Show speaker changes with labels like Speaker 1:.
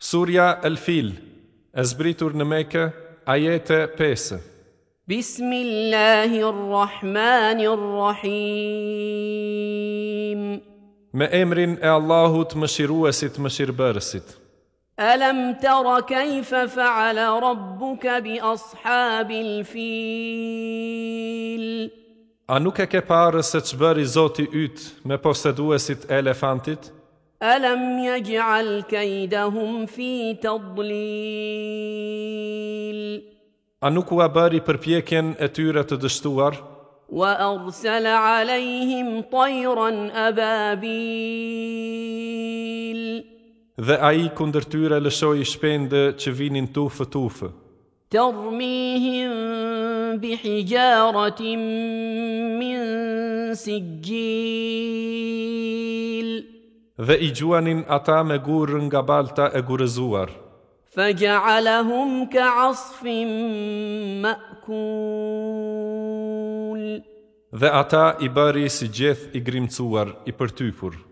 Speaker 1: Surja El Fil, e zbritur në Mekë, ajete 5.
Speaker 2: بسم الله الرحمن الرحيم
Speaker 1: Me emrin e Allahut më shiruesit më shirëbërësit.
Speaker 2: ألم تر كيف فعل ربك بأصحاب الفيل
Speaker 1: A nuk e ke parë se që bëri Zoti ytë me poseduesit e elefantit?
Speaker 2: ألم يجعل كيدهم في تضليل
Speaker 1: A nuk u a bëri përpjekjen e tyre të dështuar?
Speaker 2: وأرسل عليهم طيرا أبابيل
Speaker 1: Dhe a i kunder tyre lëshoj i shpende që vinin tufë tufë.
Speaker 2: ترميهم بحجارة من سجيل
Speaker 1: Dhe i gjuanin ata me gurë nga balta e gurëzuar.
Speaker 2: فجعلهم كعصف مأكول
Speaker 1: Dhe ata i bëri si gjeth i grimcuar, i përtypur.